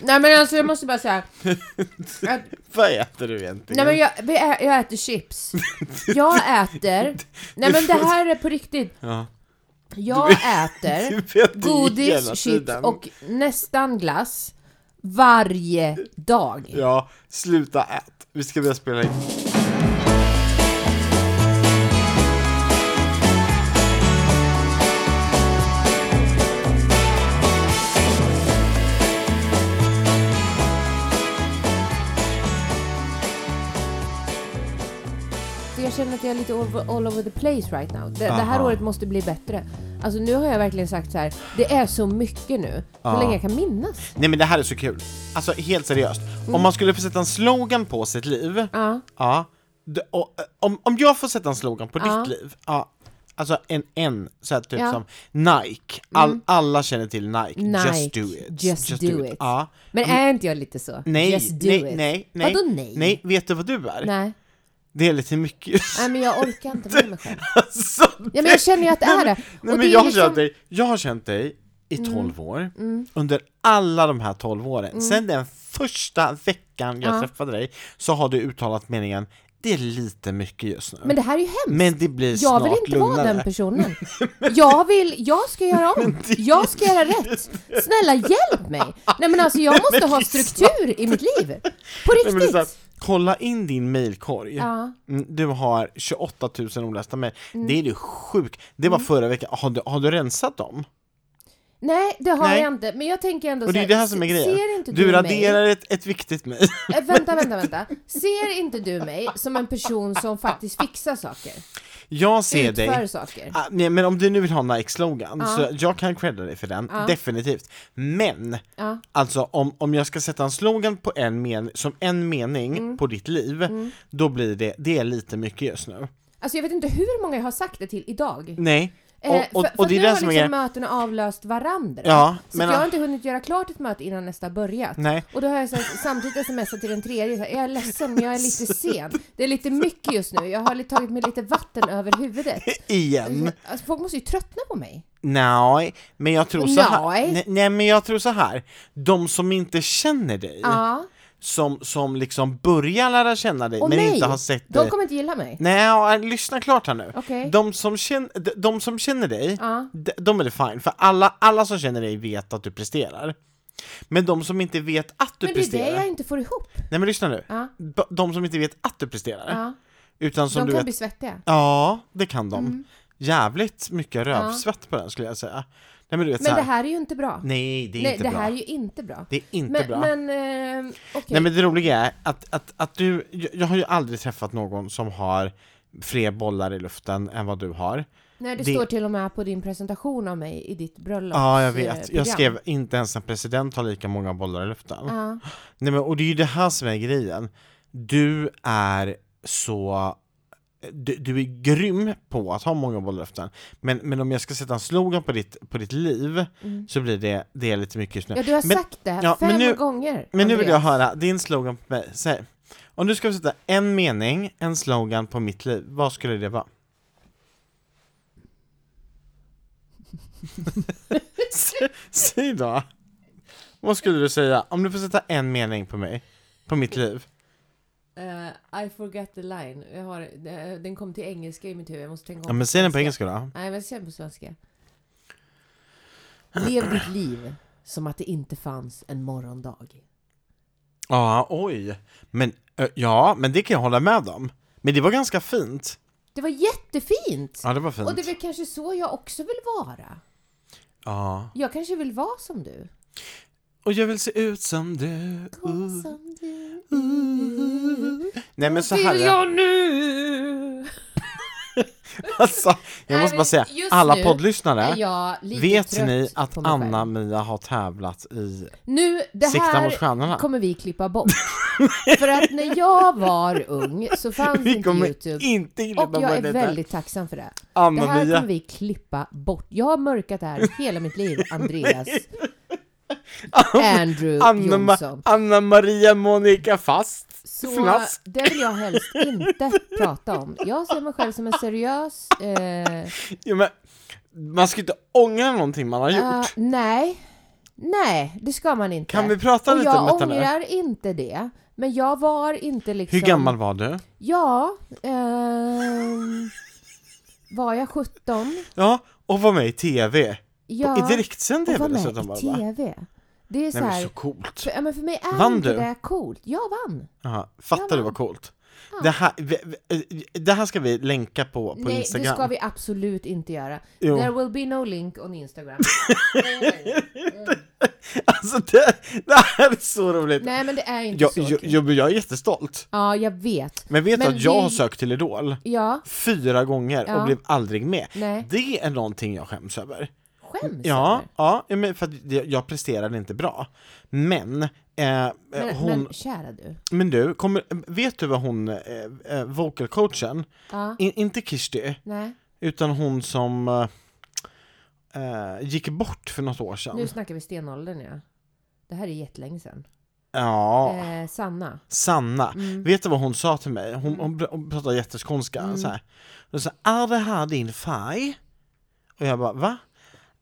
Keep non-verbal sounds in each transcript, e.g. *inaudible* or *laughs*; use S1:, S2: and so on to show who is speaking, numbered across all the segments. S1: Nej men alltså jag måste bara säga. Att,
S2: *laughs* Vad äter du
S1: nej
S2: egentligen?
S1: men jag, vi ä- jag äter chips. Jag äter. Nej men det här är på riktigt.
S2: *laughs* Ja.
S1: Jag äter
S2: *laughs* Du vet det Typ, hela
S1: godis, chips
S2: tiden.
S1: och nästan glass varje dag.
S2: Ja, sluta ät. Vi ska börja spela in.
S1: Jag känner att jag är lite all, all over the place right now. Det, det här
S2: Aha.
S1: året måste bli bättre. Alltså nu har jag verkligen sagt så här. det är så mycket nu. Så
S2: Ja.
S1: länge jag kan minnas.
S2: Nej men det här är så kul. Alltså helt seriöst. Om man skulle få sätta en slogan på sitt liv.
S1: Mm. Ja.
S2: Ja. D- och, eh, om, om jag får sätta en slogan på
S1: Ja.
S2: ditt liv. Ja. Alltså en N, så här, typ
S1: Ja. Mm.
S2: som Nike. All, Alla känner till Nike. Just
S1: Nike.
S2: do it.
S1: Just do it.
S2: Ja.
S1: Men är inte jag lite så?
S2: Mm. Nej,
S1: Just do
S2: nej,
S1: it.
S2: nej, nej.
S1: Vadå nej?
S2: Nej, vet du vad du är?
S1: Nej.
S2: Det är
S1: *laughs*
S2: lite mycket.
S1: Nej men jag orkar inte med mig själv.
S2: Alltså,
S1: Ja, men jag känner ju att det är det.
S2: Nej,
S1: Och
S2: men
S1: det är
S2: jag, har
S1: liksom- Mm.
S2: känt dig, jag har känt dig i 12 år, under alla de här 12 åren. Sen den första veckan jag
S1: Ja.
S2: träffade dig så har du uttalat meningen det är lite mycket just nu.
S1: Men
S2: Men,
S1: det här är ju hemskt.
S2: det blir
S1: Jag
S2: snart
S1: vill inte
S2: lugnare.
S1: vara den
S2: *laughs*
S1: personen. Jag vill, jag ska göra om. Jag ska göra rätt. Snälla hjälp mig! Nej men
S2: *laughs*
S1: alltså jag måste ha struktur i mitt liv. På
S2: Nej, men det är
S1: riktigt.
S2: så här, kolla in din mailkorg.
S1: Ja. Mm.
S2: Mm, Du har 28 000 olästa mejl. Det är du sjuk. Det var förra veckan. Har du, har du rensat dem?
S1: Nej det har
S2: Nej.
S1: jag inte. Men jag tänker ändå
S2: Och det är
S1: så
S2: det här som är
S1: se-
S2: grejen.
S1: Ser inte du,
S2: Du
S1: mig?
S2: raderar ett, ett viktigt mejl.
S1: Eh, vänta, vänta, vänta. Ser inte du mig som en person som faktiskt fixar saker?
S2: Jag ser dig.
S1: Utför saker?
S2: Ah, nej, men om du nu vill ha Nike-slogan,
S1: Ja.
S2: så jag kan credda dig för den,
S1: Ja.
S2: definitivt. Men,
S1: Ja.
S2: alltså om, om jag ska sätta en slogan på en men- som en mening
S1: Mm.
S2: på ditt liv, då blir det, det är lite mycket just nu.
S1: Alltså jag vet inte hur många jag har sagt det till idag.
S2: Nej.
S1: Eh,
S2: Och, och,
S1: för, för
S2: och det är
S1: nu
S2: det
S1: har
S2: som är
S1: liksom
S2: grejen.
S1: mötena avlöst varandra.
S2: Ja,
S1: så
S2: men-
S1: att jag har inte hunnit göra klart ett möte innan nästa har börjat.
S2: Nej.
S1: Och då har jag så här, samtidigt smsat till den tredje så här, jag är ledsen men jag är
S2: *laughs*
S1: lite sen. Det är lite mycket just nu, jag har li- tagit mig lite vatten över huvudet.
S2: Igen.
S1: Alltså, folk måste ju tröttna på mig.
S2: Nej, men jag tror så här.
S1: Nej.
S2: Nej. nej, men jag tror så här. De som inte känner dig,
S1: Ja.
S2: som, som liksom börjar lära känna dig
S1: Och
S2: men
S1: nej,
S2: inte har sett dig.
S1: de kommer inte gilla mig.
S2: Nej, ja, äh, lyssna klart här nu.
S1: Okej.
S2: De, som känner, de, de som känner dig,
S1: Ja.
S2: de, de är det fine, för alla, alla som känner dig vet att du presterar. Men de som inte vet att du
S1: Men det är
S2: presterar,
S1: det jag inte får ihop.
S2: nej men lyssna nu.
S1: Ja.
S2: B- De som inte vet att du presterar,
S1: Ja.
S2: utan som
S1: De
S2: du
S1: kan
S2: vet,
S1: bli Mm. svettiga.
S2: ja det kan de. Jävligt mycket rövsvett på den skulle jag säga. Nej men du vet
S1: Men det
S2: såhär,
S1: här är ju inte bra.
S2: nej det är
S1: Nej,
S2: inte
S1: det
S2: bra.
S1: här är ju inte bra.
S2: Det är inte
S1: men,
S2: bra.
S1: Men, eh, okej.
S2: Nej men det roliga är att, att, att du, jag, jag har ju aldrig träffat någon som har fler bollar i luften än vad du har.
S1: Nej, det,
S2: det-
S1: står till och med på din presentation av mig i eh, ditt bröllop.
S2: Ja, jag vet. Jag skrev inte ens en president har lika många bollar i luften.
S1: Ja,
S2: Nej, men, och det är ju det här som är grejen. Du är så... Du, du är grym på att ha många bollar i luften. Men, men om jag ska sätta en slogan på ditt, på ditt liv så blir det, det är lite mycket just nu.
S1: mm. ja du har
S2: men,
S1: sagt det
S2: ja,
S1: fem
S2: men nu-
S1: gånger.
S2: men nu vill jag
S1: Andreas.
S2: höra din slogan på mig. Säg. Om du ska sätta en mening, en slogan på mitt liv, vad skulle
S1: *laughs*
S2: det vara? Sä- Säg då. Vad skulle du säga om du får sätta en mening på mig? På mitt liv?
S1: Eh, I forgot the line. Jag har, eh, den kom till engelska i mitt huvud. Jag måste tänka om.
S2: Ja men säg den på engelska då.
S1: Nej, men säg den på svenska. Lev ditt liv som att det inte fanns en morgondag.
S2: Ja, oj. Men, ö, ja, men det kan jag hålla med om. Men det var ganska fint.
S1: Det var jättefint!
S2: Ja, det var
S1: Och det är
S2: fint.
S1: väl kanske så jag också vill vara.
S2: Ja.
S1: Jag kanske vill vara som du.
S2: Och jag vill se ut som du. Uh,
S1: Som du.
S2: uh. Nej men så här.
S1: Vill
S2: är-
S1: jag nu!
S2: *laughs* Alltså, jag
S1: Nej,
S2: måste
S1: men
S2: bara säga,
S1: just
S2: alla
S1: nu
S2: poddlyssnare,
S1: är jag lite
S2: vet
S1: trött
S2: ni att
S1: på mig själv.
S2: Anna-Mia har tävlat i
S1: Nu, det
S2: Sikta mot
S1: här
S2: stjärnorna?
S1: kommer vi klippa bort. För att när jag var ung så fanns
S2: *laughs* Vi
S1: inte
S2: kommer
S1: Youtube.
S2: inte glömma
S1: och jag
S2: bort
S1: är
S2: detta.
S1: väldigt tacksam för det. Det här
S2: Anna-Mia,
S1: kommer vi klippa bort. Jag har mörkat det här hela mitt
S2: *laughs*
S1: liv, Andreas. Andrew
S2: Anna-
S1: Jonsson.
S2: Anna-Maria Monica Fast.
S1: Så
S2: Fnask.
S1: det vill jag helst inte prata om. Jag ser mig själv som en seriös... Eh,
S2: Ja, men, man ska inte ångra någonting man har
S1: eh,
S2: gjort.
S1: nej. Nej, det ska man inte.
S2: Kan vi prata
S1: och
S2: lite om
S1: jag
S2: detta nu?
S1: ångrar inte det. Men jag var inte liksom...
S2: Hur gammal var du?
S1: Ja, ehm, var jag 17?
S2: Ja, och var med i TV.
S1: Ja,
S2: I direktsänd
S1: och var
S2: TV
S1: med
S2: dessutom bara.
S1: i
S2: va?
S1: TV. Det är så
S2: Nej men så
S1: här,
S2: coolt.
S1: för, ja, men för mig är
S2: Vann
S1: inte
S2: du?
S1: det här coolt. Jag vann.
S2: Jaha, fattar du vad coolt?
S1: Ja.
S2: Det, här, vi, vi- det här ska vi länka på på
S1: Nej,
S2: Instagram.
S1: det ska vi absolut inte göra.
S2: Jo.
S1: There will be no link on
S2: *laughs*
S1: Instagram.
S2: *laughs* Alltså det, det här är så roligt.
S1: Nej, men det är inte
S2: jag,
S1: så.
S2: jag,
S1: kul.
S2: jag, jag är jättestolt.
S1: Ja, jag vet.
S2: Men vet du
S1: Men
S2: att jag
S1: vi-
S2: har sökt till Idol
S1: Ja,
S2: fyra gånger
S1: Ja.
S2: och blev aldrig med.
S1: Nej.
S2: Det är någonting jag skäms över.
S1: skäms
S2: Ja,
S1: över.
S2: ja ja, men för att jag, jag presterade inte bra. Men, eh,
S1: Men,
S2: men hon, men,
S1: men kära du.
S2: du, kommer, vet du vad hon, eh, eh, vocalcoachen,
S1: Ja,
S2: in, inte Kirsti,
S1: nej,
S2: utan hon som eh, eh, gick bort för något år sedan.
S1: nu snackar vi stenåldern ja. Det här är jättelänge sedan.
S2: Ja,
S1: Eh, Mm. Sanna.
S2: Sanna. Vet du vad hon sa till mig?
S1: Mm.
S2: Hon, hon, pr- hon pratade jätteskånska så här. Hon sa, är det här din färg? Och jag bara, va?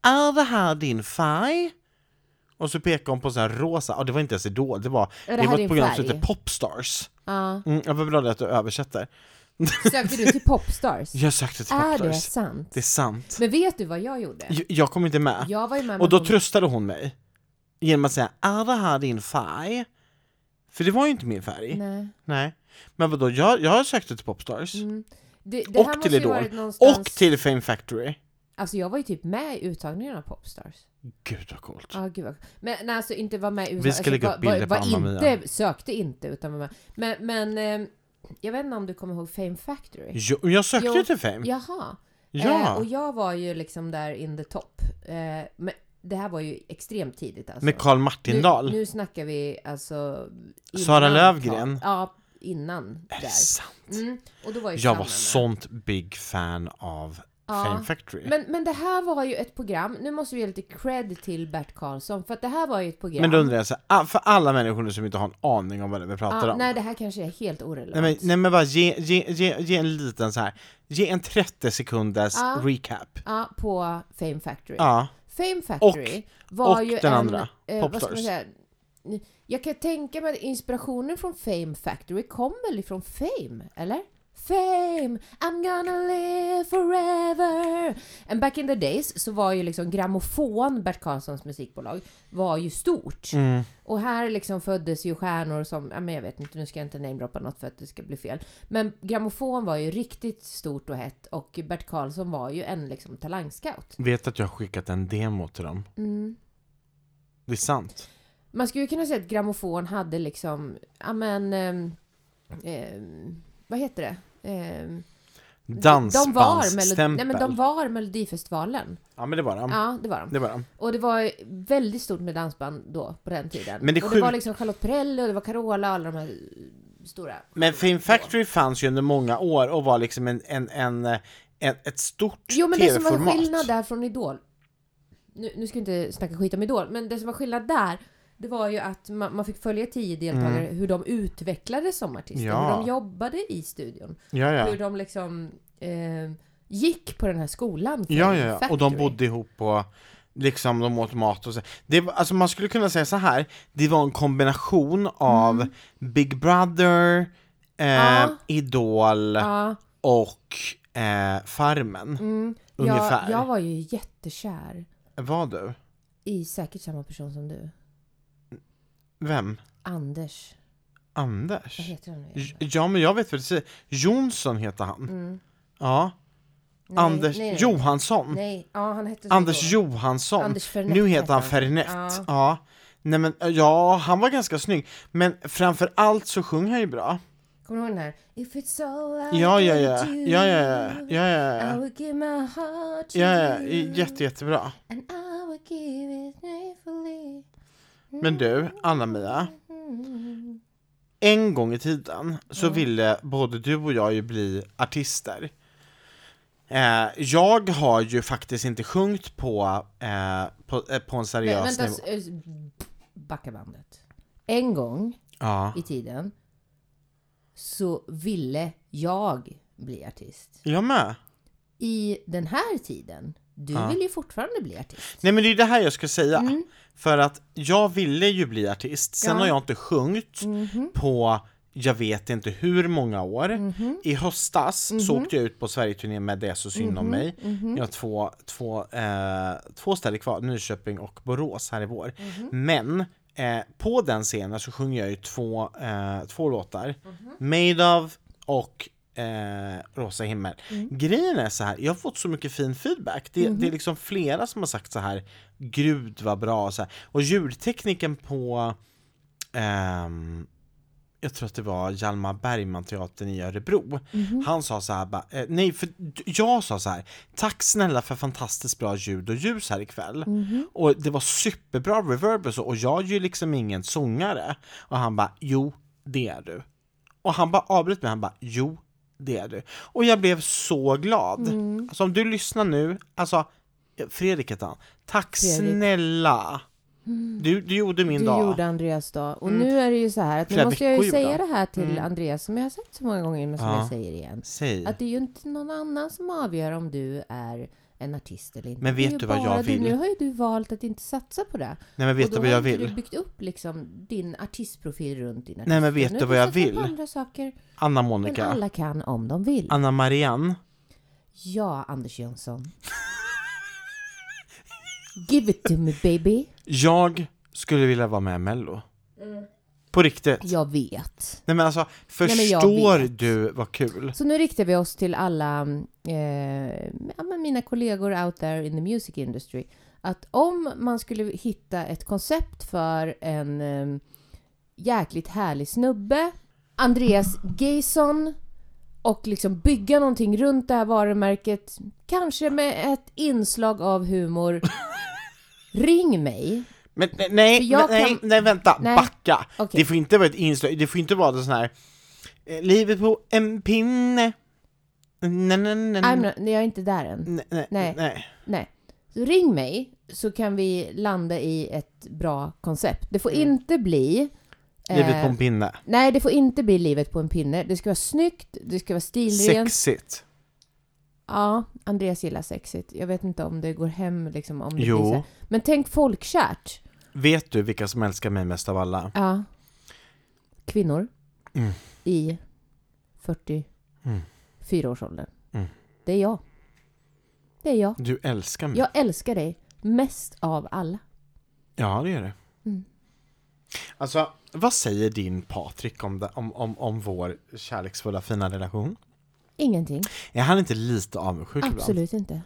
S2: Är det här din färg? Och så pekade hon på sån här rosa, ja det var inte ens Idol, det var,
S1: det
S2: det
S1: här
S2: var
S1: är en
S2: ett program som
S1: färg.
S2: hette Popstars.
S1: Ja.
S2: Mm, jag var bra det att du översätter.
S1: Sökte du till
S2: *laughs*
S1: Popstars?
S2: Jag sökte till
S1: Är det
S2: Popstars.
S1: sant?
S2: Det är sant.
S1: Men vet du vad jag gjorde?
S2: Jag, jag kom inte med.
S1: Jag var ju med
S2: Och
S1: med
S2: då
S1: hon-
S2: tröstade hon mig genom att säga är det här din färg? För det var ju inte min färg. Nej.
S1: Nej.
S2: Men vadå, jag, jag sökte till Popstars.
S1: Mm. Det, det här
S2: Och
S1: måste
S2: till
S1: ju
S2: Idol.
S1: varit någonstans...
S2: Och till Fame Factory.
S1: Alltså jag var ju typ med i uttagningen av Popstars.
S2: Gud vad coolt.
S1: Ja, gud vad... Men nej, alltså inte var med i
S2: Vi ska
S1: alltså,
S2: lägga upp
S1: var- var-
S2: bilder på
S1: var
S2: Mamma
S1: inte, Sökte inte utan var med. Men, men eh, jag vet inte om du kommer ihåg Fame Factory?
S2: Jo, jag sökte
S1: Jo.
S2: ju till Fame.
S1: Jaha.
S2: Ja.
S1: Eh, och jag var ju liksom där in the top. Eh, men det här var ju extremt tidigt alltså.
S2: Med Karl
S1: Nu,
S2: Martindal.
S1: nu snackar vi alltså... innan
S2: Sara Lövgren?
S1: tal- Ja, innan
S2: är det
S1: där.
S2: sant?
S1: Mm, och då var ju
S2: Jag
S1: Sanna
S2: var
S1: med.
S2: sånt big fan av
S1: Ja.
S2: Fame Factory. Men,
S1: Men, men det här var ju ett program, nu måste vi ge lite cred till Bert Karlsson, för att det här var ju ett program...
S2: då undrar jag så här, ah, för alla människor nu som inte har en aning om vad det är vi pratar
S1: ja,
S2: om.
S1: Nej, det här kanske är helt
S2: Nej
S1: orelevant.
S2: men, nej men bara ge, ge, ge, ge en liten så här. ge en 30 sekunders
S1: Ja. Typ.
S2: recap.
S1: Ja, på Fame Factory.
S2: Ja.
S1: Fame Factory var
S2: och
S1: ju
S2: den
S1: en...
S2: andra,
S1: eh, vad ska man
S2: Popstars.
S1: säga? Jag kan tänka mig att inspirationen från Fame Factory kom väl ifrån Fame, eller? Fame, I'm gonna live forever And back in the days så var ju liksom grammofon, Bert Karlssons musikbolag, var ju stort.
S2: Mm.
S1: Och här liksom föddes ju stjärnor som, ja men jag vet inte, nu ska jag inte namedroppa något för att det ska bli fel. Men grammofon var ju riktigt stort och hett och Bert Karlsson var ju en liksom talangscout.
S2: Vet att jag har skickat en demo till dem. Det är sant.
S1: Man skulle ju kunna säga att grammofon hade liksom, ja men, ehm, ehm, vad heter det? Ehm, de, var Melo- nej,
S2: Dansbandsstämpel.
S1: men de var Melodifestivalen.
S2: Ja men det var de.
S1: Ja, det var de.
S2: Det var de.
S1: Och det var väldigt stort med dansband då, på den tiden.
S2: Men det är
S1: och det var
S2: sjukt.
S1: liksom Charlotte Perrelli och det var Carola och alla de här eh, stora.
S2: Men Fame Factory fanns ju under många år och var liksom en, en, en, en, ett stort
S1: Jo men det som var
S2: tv-format.
S1: skillnad där från Idol nu, nu ska vi inte snacka skit om Idol, men det som var skillnad där Det var ju att man, man fick följa tio deltagare hur de utvecklades som artister,
S2: Mm. Ja.
S1: hur de jobbade i studion
S2: Ja, ja.
S1: Hur de liksom eh, gick på den här skolan Fame
S2: Ja, ja, ja. Och de
S1: Factory.
S2: bodde ihop på Liksom de åt mat och så. Det, var- alltså man skulle kunna säga så här. det var en kombination av Big Brother, eh,
S1: Mm. Ja.
S2: Idol
S1: ja,
S2: och eh, Farmen.
S1: mm,
S2: Ungefär.
S1: Jag, jag var ju jättekär
S2: Var du?
S1: i säkert samma person som du
S2: Vem?
S1: Anders,
S2: Anders?
S1: vad heter han nu?
S2: J- Ja men jag vet vad du säger, Jonsson heter han.
S1: Mm.
S2: Ja.
S1: Nej,
S2: Anders
S1: nej, nej.
S2: Johansson.
S1: Nej, ja han hette så
S2: Anders
S1: då.
S2: Johansson.
S1: Anders Fernet
S2: nu heter han
S1: heter han.
S2: Fernet.
S1: Ja.
S2: Ja. Nej men ja, han var ganska snygg. Men framför allt så sjöng han ju bra.
S1: Kommer du ihåg den här? If it's all I
S2: Ja, ja,
S1: can
S2: ja.
S1: do,
S2: Ja, ja, ja. Ja, ja,
S1: I
S2: ja.
S1: will give my heart to
S2: Ja, ja,
S1: you,
S2: jätte, jättebra.
S1: And I will give it gratefully.
S2: Men du, Anna-Mia.
S1: Mm.
S2: En gång i tiden så ville både du och jag ju bli artister. Eh, jag har ju faktiskt inte sjungit på, eh, på, eh, på en
S1: Men,
S2: seriös
S1: vänta,
S2: nivå.
S1: s- s- backa bandet. En gång
S2: Ja.
S1: i tiden så ville jag bli artist.
S2: Jag med.
S1: I den här tiden Du
S2: Ja.
S1: vill ju fortfarande bli artist.
S2: Nej men det är det här jag ska säga.
S1: Mm.
S2: För att jag ville ju bli artist, sen
S1: Ja.
S2: har jag inte sjungit
S1: Mhm.
S2: på jag vet inte hur många år.
S1: Mhm.
S2: I höstas så åkte jag ut på Sverigeturné med Det är så synd om mig.
S1: Mhm.
S2: Jag har två, två, eh, två ställen kvar, Nyköping och Borås här i vår.
S1: Mhm.
S2: Men eh, på den scenen så sjunger jag ju två, eh, två låtar,
S1: Mhm.
S2: Made of och eh, Rosa himmel.
S1: Mm.
S2: Grejen är så här, jag har fått så mycket fin feedback. Det,
S1: Mhm.
S2: det är liksom flera som har sagt så här, gud vad bra och så här. Och ljudtekniken på ehm, jag tror att det var Hjalmar Bergman-teatern i Örebro. Han sa så här, bara, eh, nej för d- jag sa så här, tack snälla för fantastiskt bra ljud och ljus här ikväll.
S1: Mm. Mm-hmm.
S2: Och det var superbra reverb och så och jag är ju liksom ingen sångare. Och han bara, jo det är du. Och han bara avbröt mig, han bara, jo det är du. Och jag blev så glad. Alltså om du lyssnar nu, alltså Fredrik heter han. Tack
S1: Fredrik. Mm.
S2: snälla! Du, du gjorde min
S1: Du
S2: dag. Mm.
S1: gjorde Andreas dag. Och nu är det ju så här att nu
S2: Flera
S1: måste jag ju
S2: veckor gjorde
S1: säga det
S2: han. Mm.
S1: här till Andreas som jag har sagt så många gånger men som
S2: Ja.
S1: jag säger igen.
S2: Säg.
S1: Att det är ju inte någon annan som avgör om du är en artist eller inte.
S2: Men
S1: Det är
S2: vet
S1: ju
S2: du vad jag
S1: bara du.
S2: vill?
S1: Nu har ju du valt att inte satsa på det.
S2: Nej men
S1: Och
S2: vet
S1: då
S2: du vad
S1: har
S2: jag
S1: inte
S2: vill?
S1: Du byggt upp liksom din artistprofil runt din artist.
S2: Nej, men vet
S1: Nu
S2: du
S1: har
S2: vad jag
S1: satsat på
S2: vill?
S1: andra saker.
S2: Anna
S1: Men
S2: Monica.
S1: alla kan om de vill.
S2: Anna Marianne.
S1: Ja, Anders Jönsson. Give it to me baby.
S2: Jag skulle vilja vara med i Mello.
S1: Mm.
S2: På riktigt.
S1: Jag vet.
S2: Nej men alltså,
S1: men jag
S2: förstår
S1: vet.
S2: du vad kul?
S1: Så nu riktar vi oss till alla eh, ja, men mina kollegor out there in the music industry. Att om man skulle hitta ett koncept för en eh, jäkligt härlig snubbe, Andreas Gayson och liksom bygga någonting runt det här varumärket, kanske med ett inslag av humor. Ring mig.
S2: Men nej, nej,
S1: jag
S2: nej,
S1: kan-
S2: nej vänta,
S1: Nej.
S2: backa!
S1: Okej.
S2: Det får inte vara ett inslag, det får inte vara sån här eh, Livet på en pinne Nej, nej, nej,
S1: I'm not, nej, jag är inte där än.
S2: nej, nej,
S1: Nej.
S2: nej.
S1: Nej. Så ring mig så kan vi landa i ett bra koncept. Det får inte bli...
S2: Mm. Livet
S1: eh,
S2: på en pinne.
S1: Nej, det får inte bli livet på en pinne. Det ska vara snyggt, det ska vara stilrent.
S2: Sexigt.
S1: Ja, Andreas gillar sexigt. Jag vet inte om det går hem liksom om det
S2: Jo.
S1: blir så här. Men tänk folkkärt.
S2: Vet du vilka som älskar mig mest av alla?
S1: Ja. Kvinnor
S2: Mm.
S1: i 44-årsåldern.
S2: Mm.
S1: Det är jag. Det är jag.
S2: Du älskar mig.
S1: Jag älskar dig mest av alla.
S2: Ja, det gör det.
S1: Mm.
S2: Alltså, vad säger din Patrik om, det, om, om, om vår kärleksfulla fina relation?
S1: Ingenting.
S2: Är han inte lite avundsjuk ibland?
S1: Absolut inte.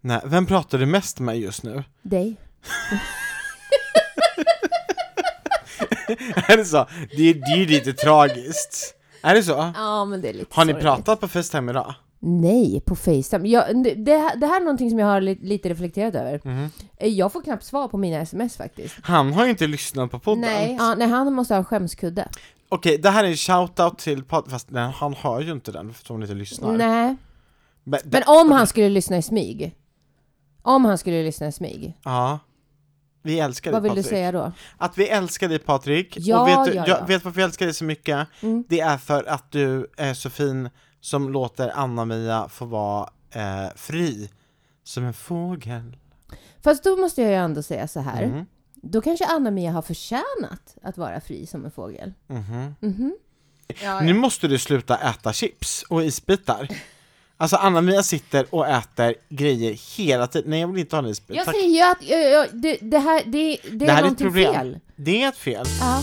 S2: Nej, vem pratar du mest med just nu? *laughs*
S1: Dig.
S2: är det så? Det, är- det är ju lite tragiskt. Är det så?
S1: Ja, men det är lite
S2: Har ni
S1: sorgligt.
S2: pratat på Facetime idag?
S1: Nej, på Facetime. Jag, det, det här är någonting som jag har li, lite reflekterat över. Eh, Jag får knappt svar på mina sms faktiskt.
S2: Han har ju inte lyssnat på podden.
S1: Nej, ja, nej, han måste ha en skämskudde.
S2: Okej, det här är en shoutout till Patrik, fast nej, han hör ju inte den eftersom han inte lyssnar.
S1: Nej.
S2: Men,
S1: Men om han skulle lyssna i smyg. Om han skulle lyssna i smyg.
S2: Ja. Vi älskar dig
S1: Vad vill du
S2: Patrik.
S1: säga då?
S2: Att vi älskar dig Patrik,
S1: Ja,
S2: och vet, du,
S1: ja, ja. Mm.
S2: Jag vet varför vi älskar dig så mycket? Det är för att du är så fin som låter Anna-Mia få vara eh, fri som en fågel.
S1: Fast då måste jag ju ändå säga så här.
S2: Mm.
S1: Då kanske Anna-Mia har förtjänat att vara fri som en fågel.
S2: Mhm.
S1: Mhm. Ja,
S2: Nu måste du sluta äta chips och isbitar. Alltså Anna-Mia sitter och äter grejer hela tiden. Nej jag vill inte ha en isbit.
S1: Jag
S2: Tack.
S1: säger ju att jag, jag, det, det här, det, det,
S2: det
S1: är
S2: här är ett
S1: någonting
S2: problem.
S1: fel.
S2: Det är ett fel.
S1: Ja.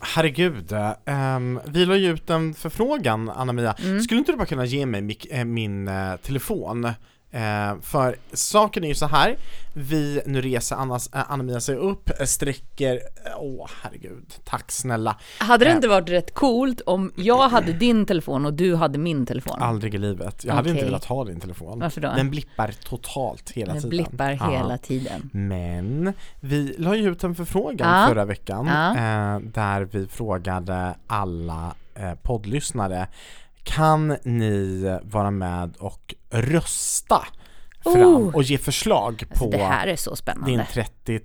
S2: Herregud, ehm, vi la ju ut en förfrågan Anna-Mia.
S3: Mm.
S2: Skulle inte du bara kunna ge mig mik- eh, min eh, telefon? Eh, för saken är ju så här, vi, nu reser Annas, eh, Anna-Mia sig upp, eh, sträcker, eh, åh herregud, tack snälla.
S3: Hade det
S2: Eh.
S3: inte varit rätt coolt om jag hade din telefon och du hade min telefon?
S2: Aldrig i livet, jag hade
S3: Okej.
S2: inte velat ha din telefon.
S3: Varför då?
S2: Den blippar totalt hela
S3: Den
S2: tiden.
S3: blippar
S2: Ja.
S3: hela tiden.
S2: Men vi la ju ut en förfrågan
S3: Ja.
S2: förra veckan
S3: Ja.
S2: eh, där vi frågade alla eh, poddlyssnare kan ni vara med och rösta fram
S3: Oh.
S2: och ge förslag på
S3: Alltså, det här är så
S2: din
S3: *laughs* spännande.
S2: 30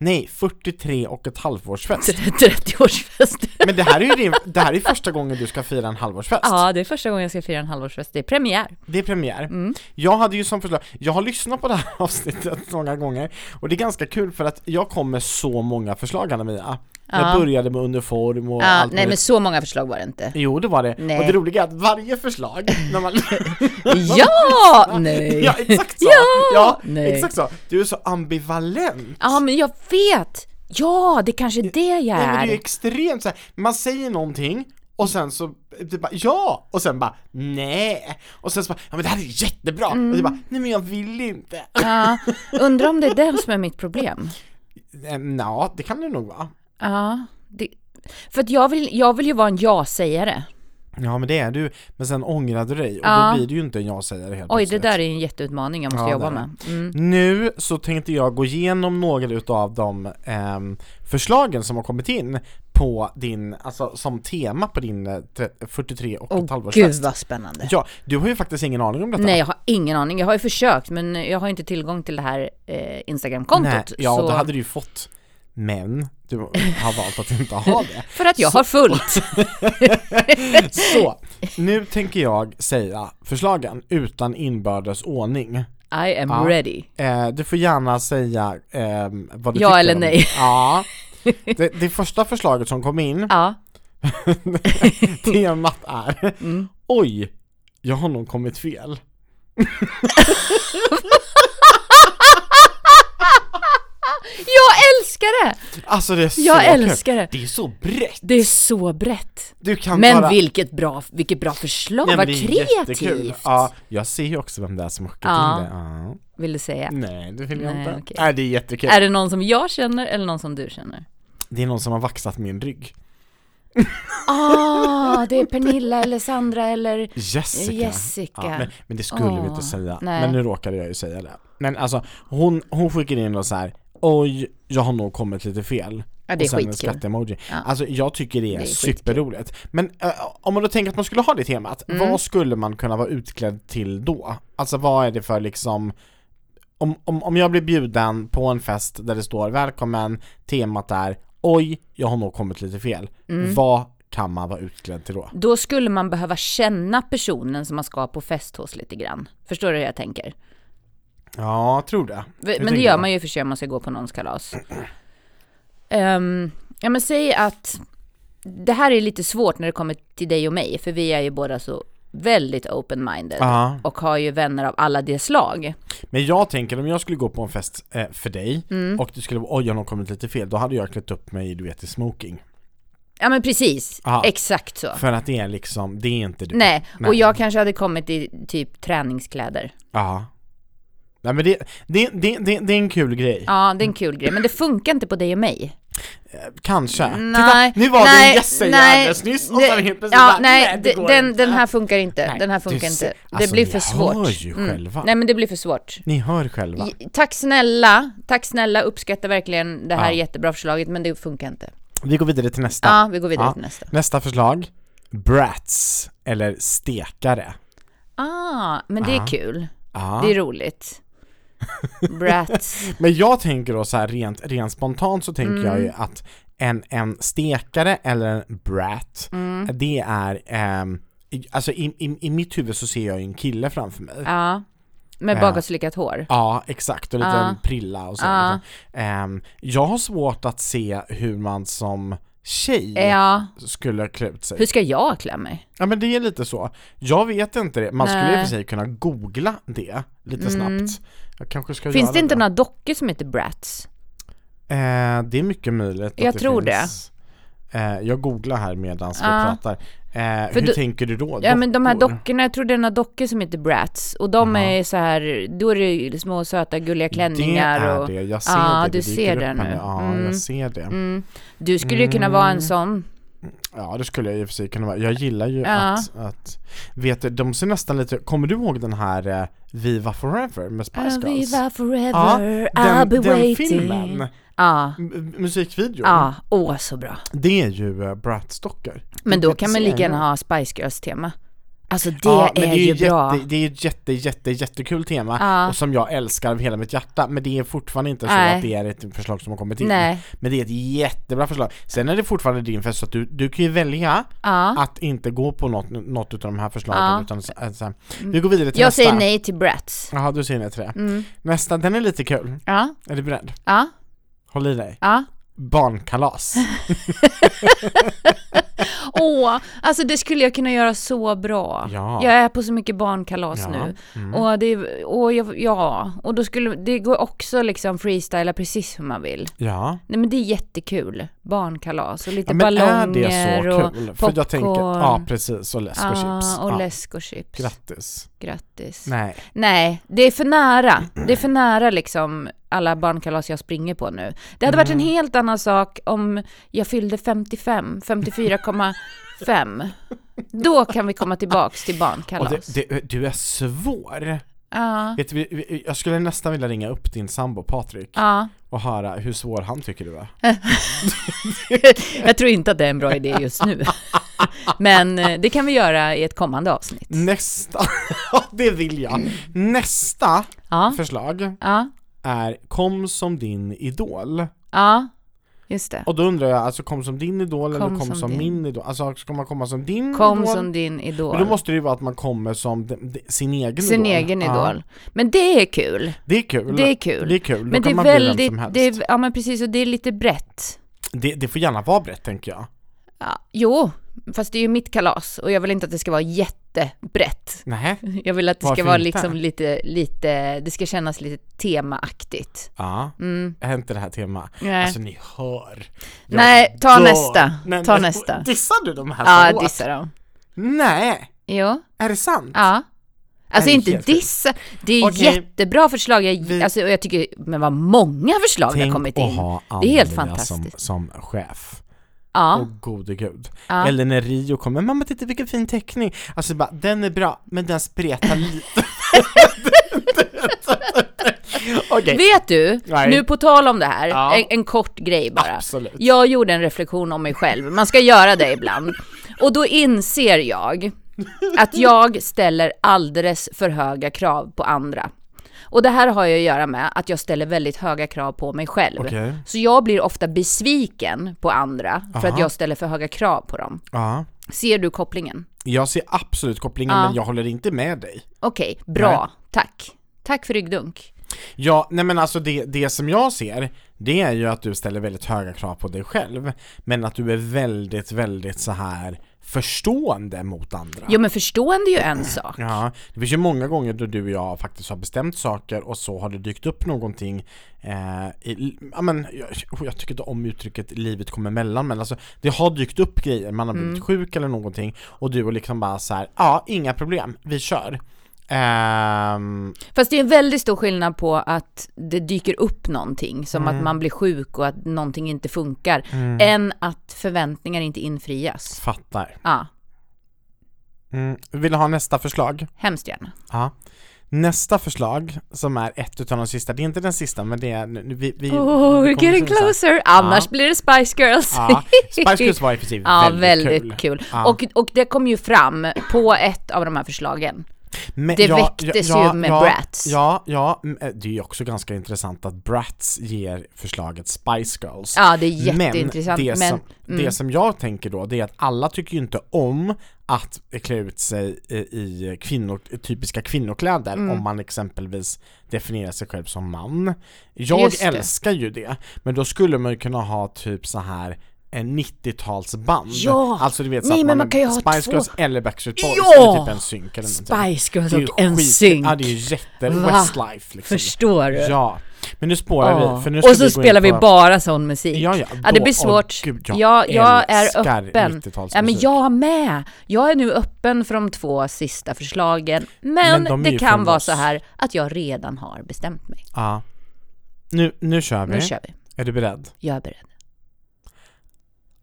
S2: Nej, 43 och ett
S3: *laughs*
S2: halvårsfest. *laughs*
S3: 30-årsfest.
S2: Men det här är ju din, det här är första gången du ska fira en halvårsfest.
S3: Ja, det är första gången jag ska fira en halvårsfest. Det är premiär.
S2: Det är premiär.
S3: Mm.
S2: Jag hade ju som förslag, jag har lyssnat på det här *laughs* avsnittet många gånger och det är ganska kul för att jag kom med så många förslag Anna-Mia. Jag
S3: Ja.
S2: började med uniform och
S3: Ja,
S2: allt
S3: nej men
S2: möjligt.
S3: så många förslag var det inte.
S2: Jo det var det,
S3: Nej.
S2: och det roliga är att varje förslag, när man... *laughs*
S3: Ja! *laughs* Nej!
S2: ja exakt så!
S3: Ja!
S2: ja
S3: Nej.
S2: exakt så! Du är så ambivalent!
S3: Ja, men jag vet! Ja, det kanske är det jag
S2: Nej men det är ju
S3: är.
S2: extremt så här. man säger någonting och sen så, typ bara ja! Och sen bara nej! Och sen så bara, ja men det här är jättebra! Och
S3: Mm.
S2: du bara, nej men jag vill inte!
S3: Ja, undrar om det är det som är mitt problem.
S2: Ehm, Ja, det kan det nog vara.
S3: Ja, det, för att jag vill, jag vill ju vara en ja-sägare.
S2: Ja men det är du, men sen ångrar du dig och
S3: Ja.
S2: då blir du ju inte en jag-sägare helt
S3: Oj, det
S2: plötsligt.
S3: där är ju en jätteutmaning jag måste
S2: Ja,
S3: jobba
S2: det är
S3: med. Mm.
S2: Nu så tänkte jag gå igenom några utav de ehm, förslagen som har kommit in på din, alltså som tema på din eh, tre- 43 och ett
S3: Åh, gud
S2: halvårsfest.
S3: vad spännande.
S2: Ja, du har ju faktiskt ingen aning om detta.
S3: Nej, jag har ingen aning. Jag har ju försökt, men jag har inte tillgång till det här eh, Instagram-kontot.
S2: ja
S3: så-
S2: då hade du ju fått, men du har valt att inte ha det.
S3: För att jag har fullt.
S2: Så, nu tänker jag säga förslagen utan inbördes ordning.
S3: I
S2: *laughs*
S3: am
S2: Ja.
S3: ready.
S2: Eh, du får gärna säga ehm, vad du
S3: Ja
S2: tycker
S3: eller
S2: om-
S3: nej. *laughs*
S2: Ja. Det, det första förslaget som kom in,
S3: Ja,
S2: temat är
S3: Mm.
S2: Oj, jag har nog kommit fel.
S3: jag älskar det!
S2: Alltså det är så
S3: Jag
S2: kul.
S3: älskar det.
S2: Det är så brett.
S3: Det är så brett.
S2: Du kan
S3: Men
S2: bara...
S3: vilket bra, vilket bra förslag,
S2: Nej, men
S3: vad
S2: det är
S3: kreativt!
S2: jättekul. Ja, jag ser ju också vem det är som har skickat
S3: Ja.
S2: in det. Ja.
S3: Vill du säga.
S2: Nej, det vill jag
S3: Nej,
S2: inte.
S3: okej.
S2: Nej, det är jättekul.
S3: Är det någon som jag känner eller någon som du känner?
S2: Det är någon som har vaxat min rygg.
S3: Ah, det är Pernilla eller Sandra eller...
S2: Jessica.
S3: Jessica.
S2: Ja, men, men det skulle vi inte
S3: Åh,
S2: säga.
S3: nej.
S2: Men nu råkade jag ju säga det. Men alltså, hon, hon skickade in och så här. Oj, jag har nog kommit lite fel.
S3: Ja, det är
S2: och sen en
S3: skitkul.
S2: skattemoji. Alltså jag tycker det är,
S3: Det är skitkul.
S2: superroligt. Men eh, om man då tänker att man skulle ha det temat,
S3: Mm.
S2: vad skulle man kunna vara utklädd till då? Alltså vad är det för liksom om, om, om jag blir bjuden på en fest där det står välkommen, temat är oj, jag har nog kommit lite fel.
S3: Mm.
S2: Vad kan man vara utklädd till då?
S3: Då skulle man behöva känna personen som man ska på fest hos lite grann. Förstår du hur jag tänker?
S2: Ja, tror det. Hur
S3: Men det
S2: tänker
S3: gör
S2: du?
S3: man ju i och för sig om man ska gå på någons kalas. Ehm, ja men säg att det här är lite svårt när det kommer till dig och mig, för vi är ju båda så väldigt open-minded
S2: Ja.
S3: och har ju vänner av alla de slag.
S2: Men jag tänker om jag skulle gå på en fest eh, för dig
S3: Mm.
S2: och det skulle vara oj, jag har nog kommit lite fel, då hade jag klätt upp mig du vet i smoking.
S3: Ja men precis,
S2: Ja.
S3: exakt så.
S2: För att det är liksom, det är inte du.
S3: Nej, och
S2: Ah. Nej.
S3: jag kanske hade kommit i typ träningskläder.
S2: Ja. Nej men det, det, det, det, det är en kul grej.
S3: Ja, det är en kul grej, men det funkar inte på dig och mig.
S2: Kanske.
S3: Nej,
S2: Titta, nu var det
S3: nej,
S2: en gässägare
S3: nej,
S2: alldeles nyss och
S3: det-
S2: sen helt plötsligt
S3: Ja,
S2: bara,
S3: nej,
S2: det
S3: d-
S2: går
S3: den,
S2: inte.
S3: den här funkar inte. den här
S2: du
S3: funkar
S2: ser-
S3: inte.
S2: alltså,
S3: det blir
S2: ni
S3: för svårt. Mm.
S2: hör ju själva.
S3: Nej, men det blir för svårt.
S2: Ni hör själva.
S3: J- Tack snälla, tack snälla, uppskattar verkligen det här
S2: Ja.
S3: jättebra förslaget, men det funkar inte.
S2: Vi går vidare till nästa.
S3: Ja, vi går vidare till nästa.
S2: Nästa förslag. Brats, eller stekare.
S3: Ah, men det är kul.
S2: Ja.
S3: Det
S2: *laughs*
S3: är roligt. Brats.
S2: Men jag tänker då så här rent, rent spontant så tänker jag
S3: Mm.
S2: ju att en, en stekare eller en brat,
S3: Mm.
S2: det är, ehm, i- alltså i, i, i mitt huvud så ser jag ju en kille framför mig. Ja,
S3: Ja. Med
S2: Ja.
S3: bakåtslickat hår.
S2: exakt, och lite
S3: Ja.
S2: en prilla och så.
S3: Ja.
S2: Liksom. Ehm, jag har svårt att se hur man som tjej
S3: Ja.
S2: skulle klä ut sig.
S3: Hur ska jag klä mig?
S2: Ja men det är lite så. Jag vet inte det, man skulle i och
S3: Nej. Mm.
S2: för sig kunna googla det lite snabbt. Jag kanske ska
S3: Finns
S2: göra
S3: det inte
S2: det.
S3: några dockor som heter Brats?
S2: Eh, det är mycket möjligt
S3: Jag tror
S2: det. Eh, jag googlar här medan vi
S3: Ja.
S2: pratar. Eh,
S3: För
S2: hur
S3: du-
S2: tänker du då?
S3: Ja men de här
S2: Dockor?
S3: dockorna, jag tror det är några dockor som heter Brats och de är så här, då är det ju små söta gulliga klänningar
S2: Det är
S3: och
S2: det, jag ser
S3: Ja,
S2: det. det
S3: du
S2: dyker
S3: ser
S2: upp
S3: det
S2: här
S3: nu.
S2: Ja,
S3: Mm.
S2: jag ser det.
S3: mm. Du skulle ju kunna
S2: Mm.
S3: vara en sån.
S2: Ja, det skulle jag i och för sig kunna vara. Jag gillar ju
S3: Ja.
S2: att, att, vet du, de ser nästan lite, kommer du ihåg den här eh, Viva Forever med Spice Girls?
S3: Viva forever,
S2: Ja,
S3: I'll
S2: den,
S3: be
S2: den
S3: waiting.
S2: filmen,
S3: Ja,
S2: m- musikvideon,
S3: ja, åh så bra.
S2: det är ju eh, Bratz dockor.
S3: Men
S2: Det
S3: då
S2: är
S3: kan man lika
S2: serien.
S3: gärna ha Spice Girls tema. Alltså det är,
S2: men
S3: ju,
S2: jätte,
S3: bra.
S2: Det är ju ett jätte, jätte, jättekul tema
S3: Ja.
S2: och som jag älskar av hela mitt hjärta men det är fortfarande inte så
S3: Nej.
S2: att det är ett förslag som har kommit in.
S3: Nej.
S2: Men det är ett jättebra förslag. Sen är det fortfarande din fest så att du, du kan ju välja
S3: Ja.
S2: att inte gå på något, något av de här förslagen
S3: Ja. Mm.
S2: utan så- att så här- vi går vidare till
S3: Jag
S2: nästa.
S3: säger nej till Bratz.
S2: Jaha, du säger nej till det.
S3: Mm.
S2: Nästa, den är lite kul.
S3: Ja,
S2: Är du beredd?
S3: ja,
S2: Håll i dig.
S3: ja. *laughs*
S2: Barnkalas.
S3: Åh, alltså det skulle jag kunna göra så bra.
S2: Ja.
S3: Jag är på så mycket barnkalas
S2: Ja.
S3: nu.
S2: Mm.
S3: Och, det, och jag, ja, och då skulle, det går också liksom freestyla precis hur man vill.
S2: Ja.
S3: Nej men det är jättekul. Barnkalas och lite
S2: ja men är
S3: ballonger
S2: det så
S3: och
S2: kul? För
S3: popcorn.
S2: jag tänker, ja precis, och läsk och chips.
S3: Ah, och
S2: ja.
S3: läsk och chips.
S2: Grattis.
S3: Grattis. Nej.
S2: Nej.
S3: det är
S2: *clears throat*
S3: för nära. Det är för nära liksom alla barnkalas jag springer på nu. Det hade varit en
S2: Mm.
S3: helt annan sak om jag fyllde 55, 54,5. Då kan vi komma tillbaks till
S2: Och
S3: barnkalas.
S2: det, det, du är svår.
S3: Ja,
S2: Vet du, vi- vi- jag skulle nästan vilja ringa upp din sambo Patrik
S3: ja.
S2: och höra hur svår han tycker du är.
S3: Jag tror inte att det är en bra idé just nu. *laughs* Men eh, det kan vi göra i ett kommande avsnitt.
S2: Nästa, *laughs* Ja, det vill jag. Nästa
S3: Ja,
S2: förslag
S3: ja,
S2: är kom som din idol.
S3: ja. Just det.
S2: Och då undrar jag, alltså kom som din idol eller
S3: Kom
S2: kom som,
S3: som din.
S2: min idol? Alltså ska man komma som din
S3: Kom
S2: idol?
S3: som din idol.
S2: Men då måste det ju vara att man kommer som de, de, sin egen
S3: Sin
S2: idol.
S3: egen
S2: Ja,
S3: idol. Men det är kul.
S2: det är kul.
S3: Det är kul.
S2: Det är kul. Då
S3: Men
S2: kan
S3: det är
S2: man bli vem
S3: väldigt,
S2: som helst.
S3: det är, ja men precis och det är lite brett.
S2: det, det får gärna vara brett tänker jag.
S3: Ja, jo, fast det är ju mitt kalas och jag vill inte att det ska vara jättebrett. *laughs*
S2: Nej.
S3: Jag vill att det
S2: Varför
S3: ska vara
S2: inte?
S3: liksom lite, lite, det ska kännas lite temaaktigt.
S2: Ja.
S3: Mm.
S2: Är inte det här tema?
S3: Nej.
S2: Alltså ni hör. Jag
S3: Nej, ta
S2: dör.
S3: nästa.
S2: Nej,
S3: Ta
S2: men-
S3: nästa.
S2: Dissar du de här så
S3: Ja,
S2: hårt?
S3: dissa dem.
S2: Nej,
S3: Jo,
S2: är det sant?
S3: ja. Alltså
S2: Nej,
S3: inte
S2: helt sjukt.
S3: dissa, det är
S2: Okej.
S3: jättebra förslag. Jag,
S2: Vi-
S3: alltså, och jag tycker, men vad många förslag det har
S2: Tänk
S3: kommit
S2: att
S3: in.
S2: ha
S3: Det är helt
S2: Anna som,
S3: fantastiskt.
S2: som chef.
S3: Ja,
S2: Och gode gud.
S3: Ja.
S2: Eller när Rio kommer, mamma titta vilken fin teckning. Alltså bara, den är bra, men den spretar
S3: *laughs*
S2: lite. *laughs* Okej,
S3: Vet du,
S2: Nej.
S3: nu på tal om det här,
S2: Ja.
S3: en, en kort grej bara.
S2: Absolut.
S3: Jag gjorde en reflektion om mig själv, man ska göra det ibland. Och då inser jag att jag ställer alldeles för höga krav på andra. Och det här har ju att göra med att jag ställer väldigt höga krav på mig själv.
S2: Okej.
S3: Så jag blir ofta besviken på andra för att
S2: Aha.
S3: jag ställer för höga krav på dem.
S2: ja.
S3: Ser du kopplingen?
S2: Jag ser absolut kopplingen
S3: Ja.
S2: men jag håller inte med dig.
S3: Okej, bra. Tack. Tack för ryggdunk.
S2: Ja, nej men alltså det, det som jag ser, det är ju att du ställer väldigt höga krav på dig själv, men att du är väldigt, väldigt så här förstående mot andra.
S3: Jo men förstående är ju en sak.
S2: Ja, det finns ju många gånger då du och jag faktiskt har bestämt saker och så har det dykt upp någonting eh, i, ja, men, jag, jag tycker inte om uttrycket livet kommer emellan men alltså det har dykt upp grejer, man har blivit sjuk eller någonting och du och liksom bara så här, ja inga problem, vi kör. Ehm,
S3: Fast det är en väldigt stor skillnad på att det dyker upp någonting, som
S2: Mm.
S3: att man blir sjuk och att någonting inte funkar, än att förväntningar inte infrias.
S2: fattar.
S3: Ja,
S2: Mm. Vill du ha nästa förslag?
S3: hemskt gärna.
S2: Ja. Nästa förslag som är ett utav de sista, det är inte den sista men det är, nu- vi, vi,
S3: Oh,
S2: vi
S3: we're
S2: kommer
S3: getting
S2: till det sen.
S3: closer! Annars blir det Spice Girls.
S2: Ja, Spice Girls var i princip
S3: *laughs* Ja,
S2: väldigt,
S3: väldigt
S2: kul.
S3: kul.
S2: Ja.
S3: Och, och det kom ju fram på ett av de här förslagen.
S2: Men
S3: Det väcktes ju med
S2: ja,
S3: Bratz.
S2: Ja, ja, m- eh, det är ju också ganska intressant att Bratz ger förslaget Spice Girls.
S3: Ja, det är jätteintressant.
S2: Men, det,
S3: Men, mm.
S2: som, liksom- det som jag tänker då, det är att alla tycker ju inte om att klä ut sig i, i kvinnor, i typiska kvinnokläder
S3: Mm.
S2: om man exempelvis definierar sig själv som man. Jag
S3: Just det.
S2: älskar ju det, men då skulle man ju kunna ha typ så här en 90-talsband.
S3: Ja!
S2: Alltså du vet så
S3: Nej,
S2: att man
S3: men man kan ju ha
S2: Spice
S3: två-
S2: Girls eller Backstreet Boys
S3: Ja!
S2: eller typ en synk eller någonting.
S3: Spice Girls
S2: Det är ju
S3: och en
S2: skit-
S3: synk.
S2: Ja det är ju jätte
S3: Va?
S2: Westlife liksom.
S3: Förstår du?
S2: Ja. Men nu spårar vi,
S3: Ja.
S2: för nu ska
S3: Och så
S2: vi gå in
S3: spelar vi
S2: på-
S3: bara sån musik.
S2: Ja, ja,
S3: det
S2: då- åh,
S3: blir svårt.
S2: gud, jag
S3: jag jag, är
S2: älskar
S3: öppen.
S2: 90-talsmusik.
S3: Ja, men jag med. Jag är nu öppen för de två sista förslagen. Men,
S2: Men de är
S3: det
S2: ju
S3: kan
S2: från
S3: vara
S2: oss.
S3: så här att jag redan har bestämt mig.
S2: Ja. Nu, nu kör vi.
S3: Nu kör vi.
S2: Är du beredd?
S3: Jag är beredd.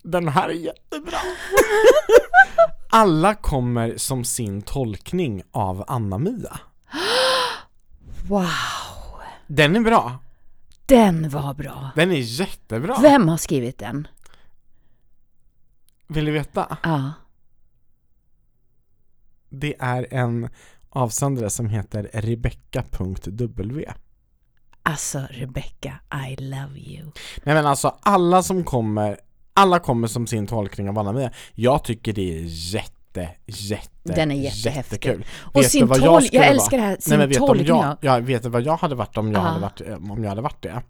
S2: Den här är jättebra. *laughs* Alla kommer som sin tolkning av Anna-Mia.
S3: Wow,
S2: Den är bra.
S3: den var bra.
S2: Den är jättebra.
S3: Vem har skrivit den?
S2: Vill du veta?
S3: Ja.
S2: Det är en avsändare som heter Rebecca.w.
S3: Alltså Rebecca, I love you.
S2: Nej men alltså alla som kommer, alla kommer som sin tolkning av Anna-Mia. Jag tycker det är jätte, jätte,
S3: Den är jättehäftig.
S2: jättekul.
S3: Och
S2: Vet du
S3: sin
S2: vad
S3: tolk,
S2: skulle
S3: jag
S2: vara?
S3: älskar det här, sin
S2: Nej, men vet du om
S3: tolkning.
S2: jag,
S3: av-
S2: jag, vet du vad jag hade varit om jag,
S3: Ah.
S2: hade varit, eh, om jag hade varit det?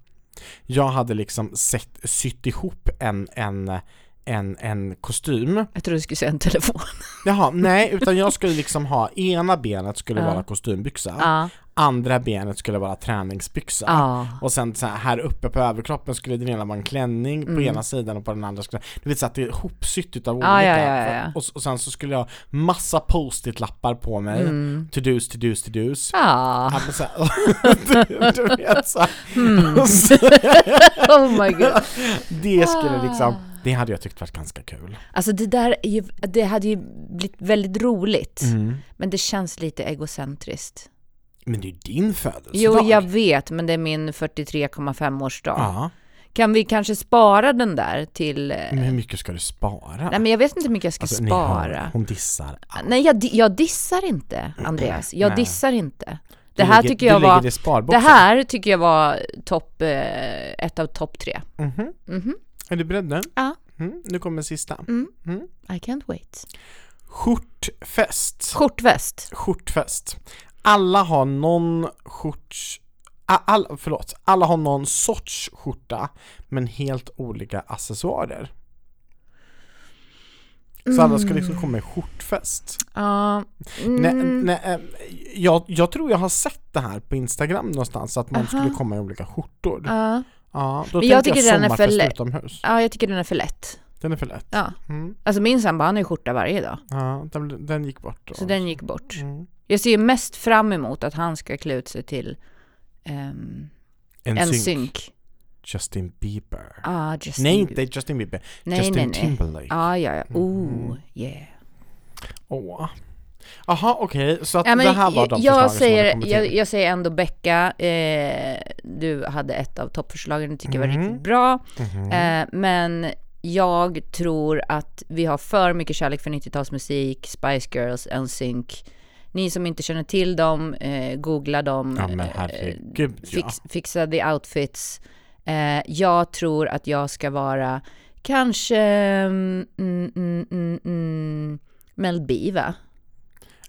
S2: Jag hade liksom sett, sytt ihop en, en, en, en kostym.
S3: Jag trodde du skulle säga
S2: *laughs*
S3: en telefon.
S2: Jaha, nej, utan jag skulle liksom ha, ena benet skulle
S3: Ja.
S2: vara kostymbyxa,
S3: Ja,
S2: andra benet skulle vara träningsbyxa.
S3: ja.
S2: Och sen så här, här uppe på överkroppen skulle den ena vara en klänning på ena sidan och på den andra skulle Du vet så att det är hopsytt utav olika
S3: Mm. Ja, ja, ja, ja, ja.
S2: Och, och sen så skulle jag ha massa post-it-lappar på mig
S3: Mm.
S2: To-dos, to-dos,
S3: *laughs*
S2: to-dos
S3: Ja,
S2: Ja, men så här, *laughs* du, du vet så här.
S3: Mm.
S2: Och så,
S3: oh my god.
S2: Det skulle
S3: Ah.
S2: liksom, det hade jag tyckt varit ganska kul
S3: Alltså det där är ju, det hade ju blivit väldigt roligt,
S2: Mm.
S3: men det känns lite egocentriskt.
S2: Men det är ju din födelsedag
S3: Jo, jag vet, men det är min 43,5-årsdag.
S2: Ja,
S3: Kan vi kanske spara den där till... eh,
S2: men hur mycket ska du spara?
S3: Nej, men jag vet inte hur mycket jag ska
S2: Mm. Alltså, ni hör,
S3: spara.
S2: hon dissar
S3: Nej, jag, di- jag dissar inte, Andreas. Jag
S2: Nej.
S3: dissar inte. Det här
S2: ligger-
S3: tycker jag
S2: du lägger
S3: var...
S2: det i
S3: Det
S2: sparboxen.
S3: här tycker jag var topp, eh, ett av topp tre.
S2: Mhm.
S3: Mhm.
S2: Är du beredd nu?
S3: Ja.
S2: Mm, nu kommer sista
S3: I can't wait.
S2: Skjortfest
S3: Skjortväst.
S2: skjortfest. Alla har någon skjorts... a- All, förlåt, alla har någon sorts skjorta men helt olika accessoarer. Så alla ska liksom komma i skjortfest.
S3: Ja. mm,
S2: Nej, nej, eh, jag, jag tror jag har sett det här på Instagram någonstans, att man
S3: Aha.
S2: skulle komma i olika skjortor. Ja,
S3: Ja.
S2: då
S3: Men jag
S2: tänker
S3: tycker
S2: jag
S3: den är för
S2: sommarfest
S3: lätt.
S2: utomhus.
S3: ja, jag tycker den är för lätt.
S2: Den är för lätt.
S3: Ja.
S2: Mm.
S3: Alltså min sambo, han har ju skjorta varje dag.
S2: Ja, den, den gick bort.
S3: Så den gick bort.
S2: Mm.
S3: Jag ser ju mest fram emot att han ska klä ut sig till ehm,
S2: En,
S3: en
S2: synk.
S3: synk.
S2: Justin Bieber.
S3: Ah, Justin
S2: nej,
S3: Bieber.
S2: inte Justin Bieber.
S3: Nej,
S2: Justin
S3: nej, nej.
S2: Timberlake. Mm.
S3: Ah, ja, ja. Oh, yeah.
S2: Åh. Jaha, okej, så att
S3: Ja, men
S2: det här var de förslagen
S3: jag,
S2: som hade
S3: säger,
S2: kommit
S3: jag,
S2: in.
S3: jag säger ändå Becka, eh, du hade ett av toppförslagen, det tycker jag var
S2: Mhm.
S3: riktigt bra.
S2: Mhm.
S3: Eh, men jag tror att vi har för mycket kärlek för 90-talsmusik, Spice Girls, NSYNC. Ni som inte känner till dem, eh, googla dem,
S2: Ja men
S3: eh,
S2: herregud ja.
S3: fix, fixa the outfits. Eh, jag tror att jag ska vara kanske mm, mm, mm, mm, Mel B va?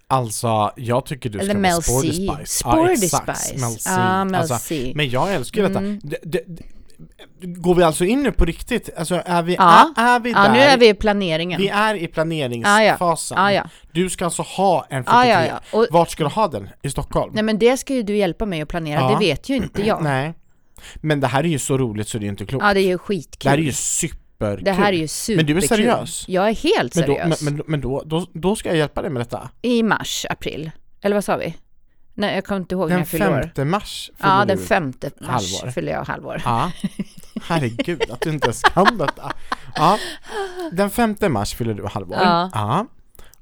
S2: Alltså jag tycker du
S3: Eller
S2: ska
S3: Mel
S2: vara Sporty
S3: C.
S2: Spice.
S3: Sporty
S2: exakt,
S3: Spice.
S2: Mel C.
S3: Ja, Mel
S2: alltså,
S3: C. Mm.
S2: Men jag älskar ju detta. Det- det- det- Går vi alltså in nu på riktigt? Alltså är vi,
S3: Ja.
S2: är, är vi där?
S3: Ja, nu är vi i planeringen.
S2: Vi är i planeringsfasen.
S3: Ja, ja. Ja,
S2: Du ska alltså ha en 43.
S3: Ja, ja, ja. Och,
S2: Vart ska du ha den? I Stockholm?
S3: nej men det ska ju du hjälpa mig att planera,
S2: Ja.
S3: det vet ju inte jag.
S2: Nej. Men det här är ju så roligt så det är inte klokt.
S3: Ja, det är ju
S2: det
S3: skitkul.
S2: här är ju superkul.
S3: Det här är ju superkul.
S2: Men du är seriös?
S3: Jag är helt
S2: Men, då,
S3: seriös.
S2: men, men, men då, då, då ska jag hjälpa dig med detta.
S3: I mars, april. Eller vad sa vi? Nej, jag kommer inte ihåg när
S2: Den
S3: jag fyller år.
S2: 5 mars fyller
S3: Ja, den
S2: du.
S3: femte mars
S2: halvår.
S3: fyller jag halvår.
S2: Ja. Herregud, att du inte ens kan detta. Ja. Den 5 mars fyller du halvår.
S3: Ja.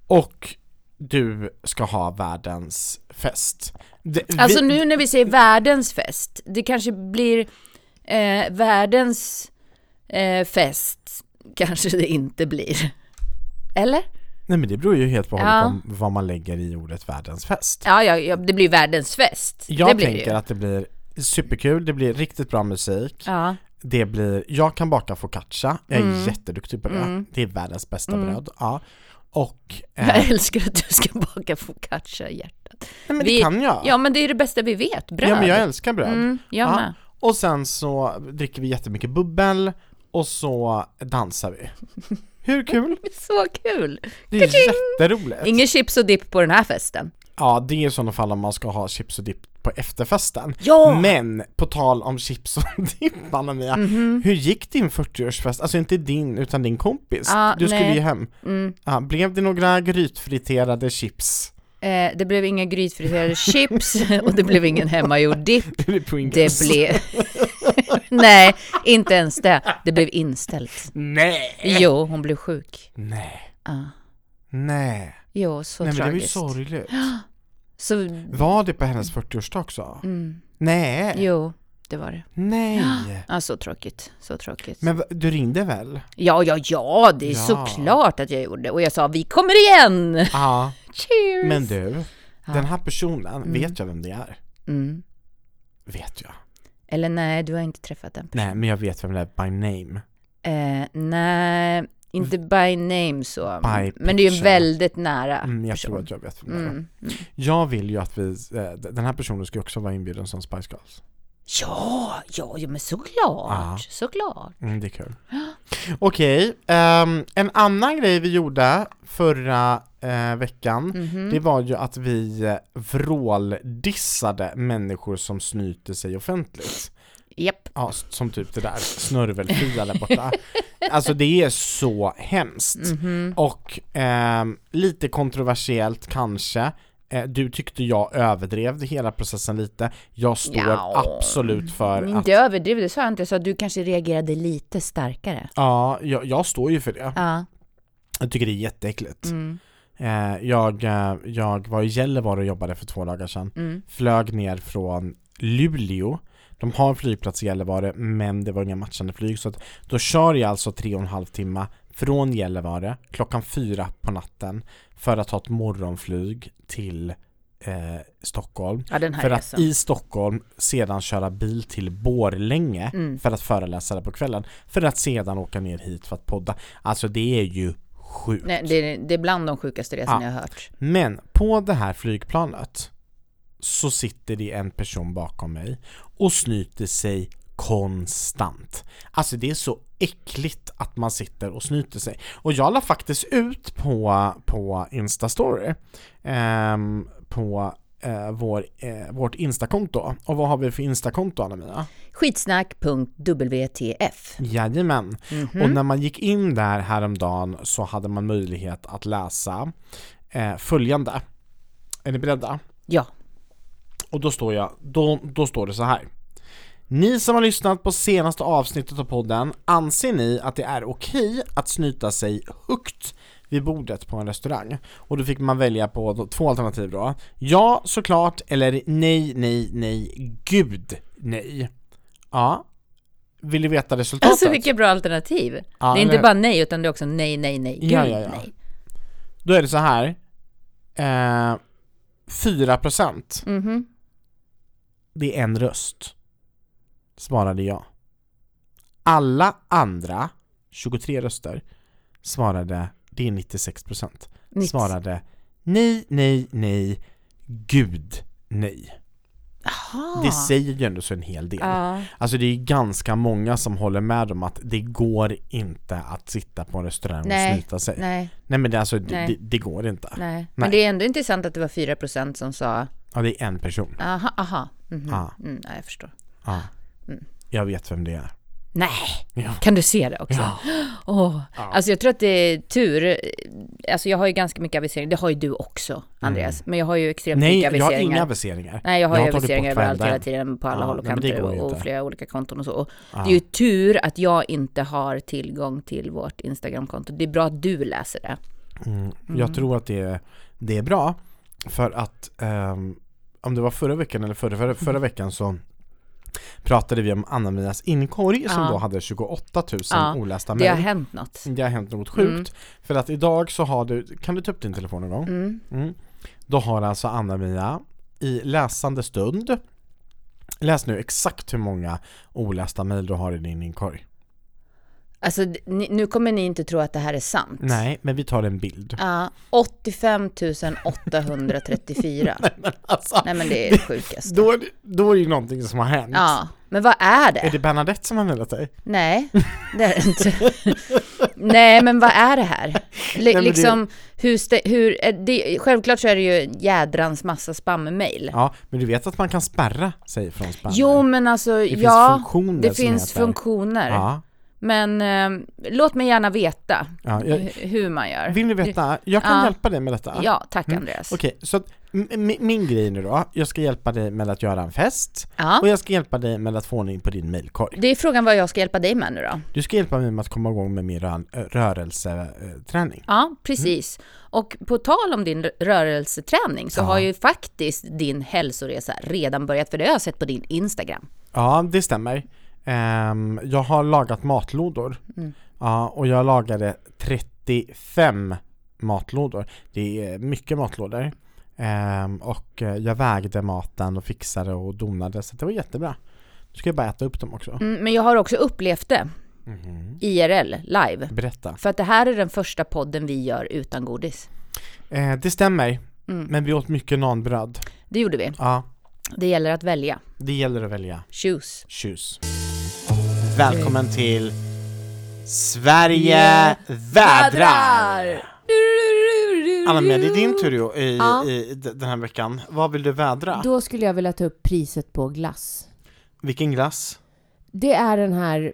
S2: Och du ska ha världens fest. Det-
S3: Alltså
S2: vi-
S3: nu när vi säger världens fest, det kanske blir eh, världens eh, fest, kanske det inte blir. Eller?
S2: Nej men det beror ju helt på
S3: Ja.
S2: vad- vad man lägger i ordet världens fest.
S3: Ja, ja, ja det blir världens fest.
S2: Jag
S3: det blir
S2: tänker
S3: det ju.
S2: att det blir superkul, det blir riktigt bra musik.
S3: Ja.
S2: Det blir, jag kan baka focaccia, jag är
S3: Mm.
S2: jätteduktig på det. Det är världens bästa bröd. Ja. Och, eh,
S3: *laughs* Jag älskar att du ska baka focaccia i hjärtat.
S2: nej men
S3: vi-
S2: det kan jag.
S3: Ja, men det är det bästa vi vet, bröd.
S2: Ja men jag älskar bröd.
S3: Mm, jag
S2: Ja.
S3: med.
S2: Och sen så dricker vi jättemycket bubbel och så dansar vi. Hur kul?
S3: *laughs* Så kul!
S2: Det
S3: *laughs*
S2: är jätteroligt.
S3: Ingen chips och dipp på den här festen.
S2: Ja det är i sådana fall om man ska ha chips och dipp på efterfesten.
S3: Ja!
S2: Men på tal om chips och *laughs* dipp Anna-Mia,
S3: Mhm.
S2: hur gick din 40-årsfest? Alltså inte din utan din kompis.
S3: Ja,
S2: du skulle
S3: nej.
S2: ju hem.
S3: Mm.
S2: Ja, blev det några grytfriterade chips?
S3: Eh, det blev inga grytfriterade chips *laughs* och det blev ingen hemmagjord dipp.
S2: Det blir Pringles. *laughs*
S3: Det blev... Nej, inte ens det. Det blev inställt.
S2: Nej!
S3: Jo, hon blev sjuk.
S2: Nej.
S3: Ja.
S2: Nej.
S3: Jo, så
S2: Nej men det var ju
S3: tragiskt.
S2: sorgligt.
S3: Så,
S2: Var det på hennes 40-årsdag också?
S3: mm,
S2: Nej.
S3: jo, det var det.
S2: Nej.
S3: Ja, så tråkigt. Så tråkigt.
S2: Men va- du ringde väl?
S3: Ja, ja, ja, det är
S2: Ja.
S3: såklart att jag gjorde. Och jag sa, vi kommer igen! *laughs*
S2: Ja.
S3: Cheers!
S2: Men du,
S3: Ja.
S2: den här personen,
S3: Mm.
S2: vet jag vem det är?
S3: Mm.
S2: Vet jag.
S3: Eller nej, du har inte träffat den.
S2: Nej, men jag vet vem det är by name.
S3: Eh, nej, inte by name så.
S2: By
S3: men det är ju
S2: picture.
S3: väldigt nära.
S2: Mm, jag
S3: person.
S2: tror att jag vet vem det är.
S3: Mm. Mm.
S2: Jag vill ju att vi, eh, d- den här personen ska ju också vara inbjuden som Spice Girls.
S3: Ja, ja, ja, men såklart,
S2: Ja.
S3: såklart.
S2: Mm, det är kul. *gasps* Okej, ehm, en annan grej vi gjorde förra eh, veckan,
S3: Mhm.
S2: det var ju att vi eh, vråldissade människor som snyter sig offentligt.
S3: Japp.
S2: Ja, s- som typ det där snörvelfia där borta. Alltså det är så hemskt.
S3: Mhm.
S2: Och ehm, lite kontroversiellt kanske, eh, du tyckte jag överdrev hela processen lite. Jag står
S3: Ja. Mm,
S2: absolut för att,
S3: Inte överdrivet, det sa jag inte. Jag sa att du kanske reagerade lite starkare.
S2: ja, jag, jag står ju för det.
S3: Ja.
S2: Jag tycker det är jätteäckligt.
S3: Mm.
S2: Eh, jag, eh, jag var i Gällivare och jobbade för två dagar sedan.
S3: Mm.
S2: Flög ner från Luleå. De har en flygplats i Gällivare men det var inga matchande flyg så att då kör jag alltså tre och en halv timme från Gällivare klockan fyra på natten för att ta ett morgonflyg till eh, Stockholm.
S3: ja, den här
S2: För att
S3: resan.
S2: i Stockholm sedan köra bil till Borlänge
S3: Mm.
S2: för att föreläsa där på kvällen. För att sedan åka ner hit för att podda. Alltså det är ju sjukt.
S3: Nej, det, är- det är bland de sjukaste resorna
S2: Ja.
S3: jag har hört.
S2: Men på det här flygplanet så sitter det en person bakom mig och snyter sig konstant. Alltså det är så äckligt att man sitter och snyter sig. Och jag la faktiskt ut på, på Instastory ehm, på eh, vår, eh, vårt Instakonto. Och vad har vi för Instakonto Anna-Mia?
S3: Skitsnack.wtf.
S2: Jajamän. Och när man gick in där häromdagen så hade man möjlighet att läsa eh, följande. Är ni beredda?
S3: Ja.
S2: Och då står jag, då, då står det så här. Ni som har lyssnat på senaste avsnittet av podden, anser ni att det är okej att snyta sig högt vid bordet på en restaurang? Och då fick man välja på då- två alternativ då. Ja, såklart, eller nej, nej, nej, gud, nej. Ja. Vill du veta resultatet?
S3: *laughs* Alltså vilket bra alternativ.
S2: Ja,
S3: det är inte
S2: eller-
S3: bara nej, utan det är också nej, nej, nej. Gud,
S2: Ja, ja, ja.
S3: nej.
S2: Då är det så här. Eh, 4%
S3: Mhm.
S2: det är en röst. Svarade jag. Alla andra, 23 röster, svarade, det är 96%,
S3: Nitt-
S2: svarade nej, nej, nej, gud, nej.
S3: Aha.
S2: Det säger ju ändå så en hel del.
S3: Ah. Ja.
S2: Alltså det är ganska många som håller med om att det går inte att sitta på en restaurang och
S3: Nej,
S2: snyta sig. Nej,
S3: Nej,
S2: men det, alltså, det,
S3: Nej.
S2: det, det går inte.
S3: nej. Men det är ändå intressant att det var 4% som sa
S2: Ja, det är en person.
S3: aha, aha. Mhm.
S2: Ja.
S3: Mm, nej, jag förstår.
S2: Ja.
S3: Mm.
S2: Jag vet vem det är.
S3: Nej,
S2: Ja.
S3: kan du se det också? *gasps* Åh, Alltså jag tror att det är tur. Alltså jag har ju ganska mycket aviseringar. Det har ju du också, Andreas. Men jag har ju extremt
S2: Mm. Nej,
S3: mycket
S2: jag har
S3: aviseringar.
S2: inga aviseringar.
S3: Nej, jag har ju
S2: tagit
S3: aviseringar
S2: bort
S3: överallt hela
S2: varenda.
S3: tiden på alla
S2: Ja,
S3: håll och
S2: nej, men det
S3: kanter
S2: går ju
S3: och,
S2: inte.
S3: och flera olika konton och så. Och Det är ju tur att jag inte har tillgång till vårt Instagramkonto. Det är bra att du läser det.
S2: Mm. Jag tror att det är, det är bra för att ehm, om det var förra veckan eller förra, förra,
S3: Mm.
S2: förra veckan så pratade vi om Anna-Mias inkorg som
S3: Ja.
S2: då hade 28 000
S3: Ja,
S2: olästa
S3: Det har
S2: mejl.
S3: hänt Mm. något.
S2: Det Mm. har hänt något sjukt. För att idag så har du, kan du ta upp din telefon någon gång?
S3: Mm.
S2: Mm. Då har alltså Anna-Mia i läsande stund, läs nu exakt hur många olästa mejl du har i din inkorg.
S3: Alltså, d- ni, nu kommer ni inte tro att det här är sant.
S2: Nej, men vi tar en
S3: *laughs*
S2: bild.
S3: Ja, 85
S2: *laughs*
S3: 834.
S2: Alltså,
S3: Nej men det är det sjukaste.
S2: då, är det- då är det ju någonting som har hänt.
S3: Ja, men vad är det?
S2: Är det Bernadette som har mejlat dig? *laughs*
S3: Nej, det är det inte. Nej, men vad är det här? Li-
S2: men det-
S3: liksom, hur, stä- hur eh, det, självklart så är det ju en jädrans massa spam-mail.
S2: Ja, men du vet att man kan spärra sig från spam?
S3: Jo, men alltså,
S2: finns
S3: ja,
S2: funktioner
S3: det
S2: som
S3: finns
S2: heter-
S3: funktioner.
S2: Ja.
S3: Men eh, låt mig gärna veta
S2: ja. Jag,
S3: hu- hur man gör.
S2: vill du veta? Jag kan
S3: Ja.
S2: hjälpa dig med detta.
S3: Ja, tack Andreas.
S2: Okej, så att m- m- min grej nu då, jag ska hjälpa dig med att göra en fest och
S3: Ja.
S2: jag ska hjälpa dig med att få ordning på din mailkorg.
S3: Det är frågan vad jag ska hjälpa dig med nu då.
S2: Du ska hjälpa mig med att komma igång med min rö- ö, rörelseträning.
S3: Ja, precis. Och på tal om din r- rörelseträning så har ju faktiskt din hälsoresa redan börjat, för det har jag sett på din Instagram.
S2: Ja, det stämmer. Ehm, jag har lagat matlådor. Ja, och jag lagade 35 matlådor. Det är mycket matlådor. Ehm, och eh, jag vägde maten och fixade och donade så det var jättebra. Nu ska jag bara äta upp dem också.
S3: Mm, men jag har också upplevt det
S2: Mhm.
S3: IRL, live.
S2: Berätta.
S3: För att det här är den första podden vi gör utan godis.
S2: Eh, det stämmer,
S3: Mm.
S2: men vi åt mycket naanbröd.
S3: Det gjorde vi.
S2: Ja,
S3: Det gäller att välja.
S2: det gäller att välja.
S3: Choose.
S2: Tjus. Välkommen till Sverige vädrar! Anna-Mia, det är din tur ju i,
S1: Ja.
S2: i d- den här veckan. Vad vill du vädra?
S1: Då skulle jag vilja ta upp priset på glass.
S2: Vilken glass?
S1: Det är den här...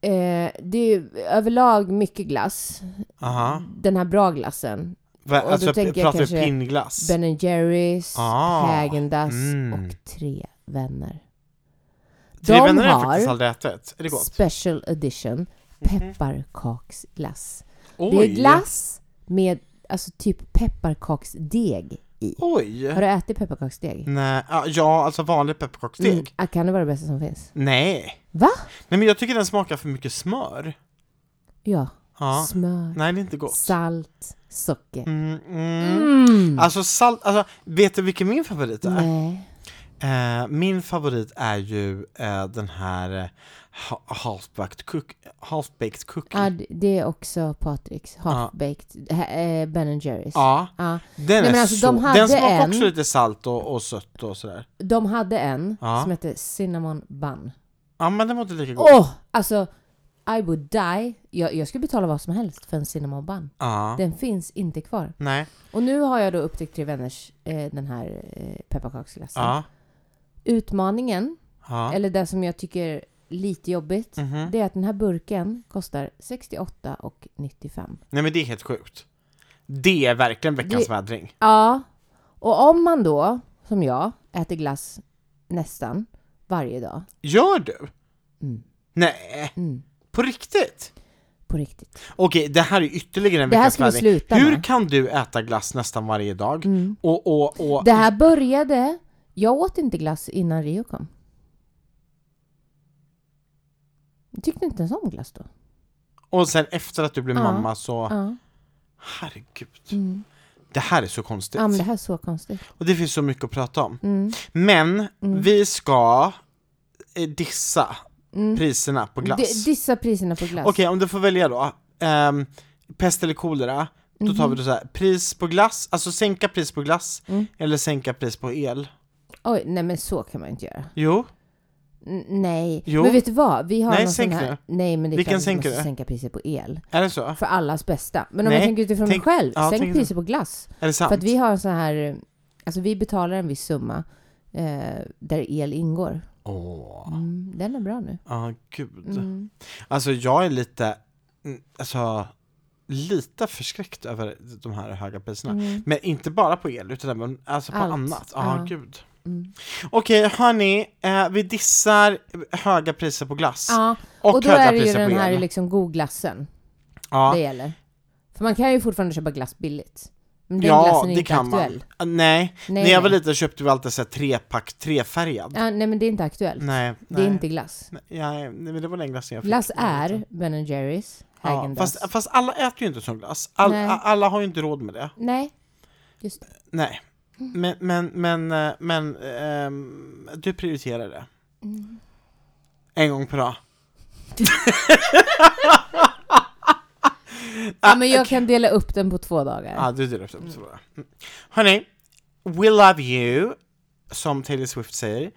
S1: Eh, det är överlag mycket glass.
S2: Aha.
S1: Den här bra glassen.
S2: Va,
S1: Och då
S2: alltså,
S1: tänker jag
S2: pratar vi
S1: kanske
S2: pinnglass?
S1: Ben Jerrys,
S2: Ah,
S1: Häagen-Dazs
S2: mm.
S1: och Tre Vänner.
S2: Tre
S1: de
S2: vänner har jag
S1: har-
S2: faktiskt aldrig ätit. Är det gott? Mhm.
S1: Special edition pepparkaksglass. Det
S2: Oj!
S1: är glass med alltså typ pepparkaksdeg i.
S2: Oj!
S1: Har du ätit pepparkaksdeg?
S2: Nej, ja, ja, alltså vanlig pepparkaksdeg.
S1: Mm. ah, Kan det vara det bästa som finns?
S2: Nej.
S1: Va?
S2: Nej men jag tycker den smakar för mycket smör.
S1: Ja.
S2: Ja.
S1: Smör,
S2: Nej det är inte gott.
S1: salt, socker.
S2: Mm, mm.
S3: Mm.
S2: Alltså salt, alltså vet du vilken min favorit är?
S1: Nej.
S2: Eh, min favorit är ju eh, den här eh, ha- half-baked, cook, half-baked cookie.
S1: Ja, d- det är också Patriks half-baked hä- eh, Ben Jerrys.
S2: ja,
S1: Ja.
S2: den
S1: men
S2: är
S1: alltså,
S2: så,
S1: de hade
S2: den smakar
S1: en-
S2: också lite salt och, och sött och sådär.
S1: De hade en
S2: Ja.
S1: som hette Cinnamon Bun.
S2: Ja men den var inte lika god.
S1: Åh! alltså, I would die. Jag, jag skulle betala vad som helst för en Cinnamon Bun.
S2: Ja,
S1: Den finns inte kvar.
S2: nej,
S1: Och nu har jag då upptäckt Tre Vänners, eh, den här eh, pepparkaksglassen.
S2: ja,
S1: Utmaningen,
S2: ja.
S1: eller det som jag tycker är lite jobbigt,
S2: Mhm.
S1: det är att den här burken kostar 68 och 95.
S2: Nej men det är helt sjukt. Det är verkligen veckans vädring.
S1: Ja, och om man då, som jag, äter glass nästan varje dag.
S2: Gör du?
S1: Mm.
S2: Nej,
S1: Mm,
S2: på riktigt?
S1: på riktigt.
S2: Okej, det här är ytterligare en
S1: Det här
S2: veckans
S1: ska vi
S2: vädring.
S1: sluta
S2: Hur
S1: med.
S2: kan du äta glass nästan varje dag?
S1: Mm.
S2: Och, och, och...
S1: Det här började... Jag åt inte glass innan Rio kom. Jag tyckte inte ens om glass då.
S2: Och sen efter att du blev
S1: Ja.
S2: mamma så,
S1: Ja,
S2: herregud.
S1: mm.
S2: Det här är så konstigt.
S1: ja men det här är så konstigt.
S2: Och det finns så mycket att prata om.
S1: Mm.
S2: Men
S1: Mm.
S2: vi ska eh, dissa
S1: Mm.
S2: priserna på glass.
S1: D- dissa priserna på glass.
S2: Okej, om du får välja då. Ehm, pest eller kolera, då tar vi då så här, pris på glass, alltså sänka pris på glass,
S1: Mhm. Mm.
S2: eller sänka pris på el.
S1: Oj, nej men så kan man inte göra.
S2: Jo,
S1: N- nej.
S2: Jo.
S1: Men vet du vad? Vi har
S2: Nej,
S1: någon
S2: sänk
S1: sån här...
S2: det.
S1: Nej, men det
S2: Vilken
S1: är klart att vi
S2: sänker
S1: måste
S2: du?
S1: sänka priset på el.
S2: är det så?
S1: För allas bästa. Men om
S2: Nej,
S1: jag tänker utifrån
S2: tänk-
S1: mig själv,
S2: ja, tänk
S1: sänk
S2: så.
S1: priset på glass.
S2: Är det sant?
S1: För att vi har en sån här... eh, Alltså vi betalar en viss summa eh, där el ingår.
S2: Åh,
S1: Mm, den är bra nu.
S2: ja gud.
S1: Mm.
S2: Alltså jag är lite, mm, alltså lite förskräckt över de här höga priserna.
S1: Mm.
S2: Men inte bara på el utan även alltså på
S1: Allt.
S2: annat. Ja,
S1: Ja.
S2: gud.
S1: Mm.
S2: Okej, hörni, eh, vi dissar höga priser på glass.
S1: Ja,
S2: Och,
S1: och, då
S2: höga
S1: är det ju
S2: priser
S1: den
S2: på
S1: här
S2: el.
S1: liksom godglassen det
S2: ja.
S1: gäller. För man kan ju fortfarande köpa glass billigt. Men den
S2: Ja,
S1: glassen är
S2: det
S1: inte
S2: kan
S1: aktuell.
S2: man. Ah, Nej,
S1: Nej,
S2: när jag var
S1: nej.
S2: liten köpte vi alltid så här trepack trefärgad.
S1: Ja, nej men det är inte aktuellt.
S2: Nej,
S1: Det är
S2: nej.
S1: inte glass.
S2: Nej, nej, men det var den glassen jag fick.
S1: Glass
S2: när jag var liten.
S1: är Ben Jerrys,
S2: Ja,
S1: Häagen-Dazs.
S2: fast, fast alla äter ju inte sån glass. All,
S1: Nej.
S2: a- alla har ju inte råd med det.
S1: Nej,
S2: Nej. Men, men, men, eh, men ehm, du prioriterar det.
S1: Mm.
S2: En gång per dag. Ah,
S1: ja, men jag kan dela upp den på två dagar.
S2: Ja, du delar upp det på två. Mm. Hörni, we love you, som Taylor Swift säger.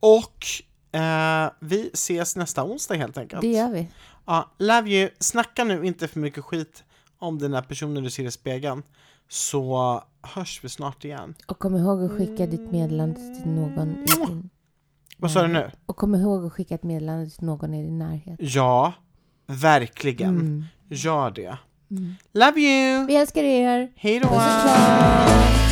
S2: Och eh, vi ses nästa onsdag helt enkelt.
S1: det gör vi.
S2: Ja, love you. Snacka nu inte för mycket skit om den här personen du ser i spegeln. Så hörs vi snart igen.
S1: Och kom ihåg att skicka ditt meddelande till någon i din...
S2: Vad sa du nu?
S1: Och kom ihåg att skicka ett meddelande till någon i din närhet.
S2: Ja, verkligen.
S1: Mm.
S2: Gör det. Love you!
S1: Vi älskar er!
S2: Hej då!
S1: Puss och kram!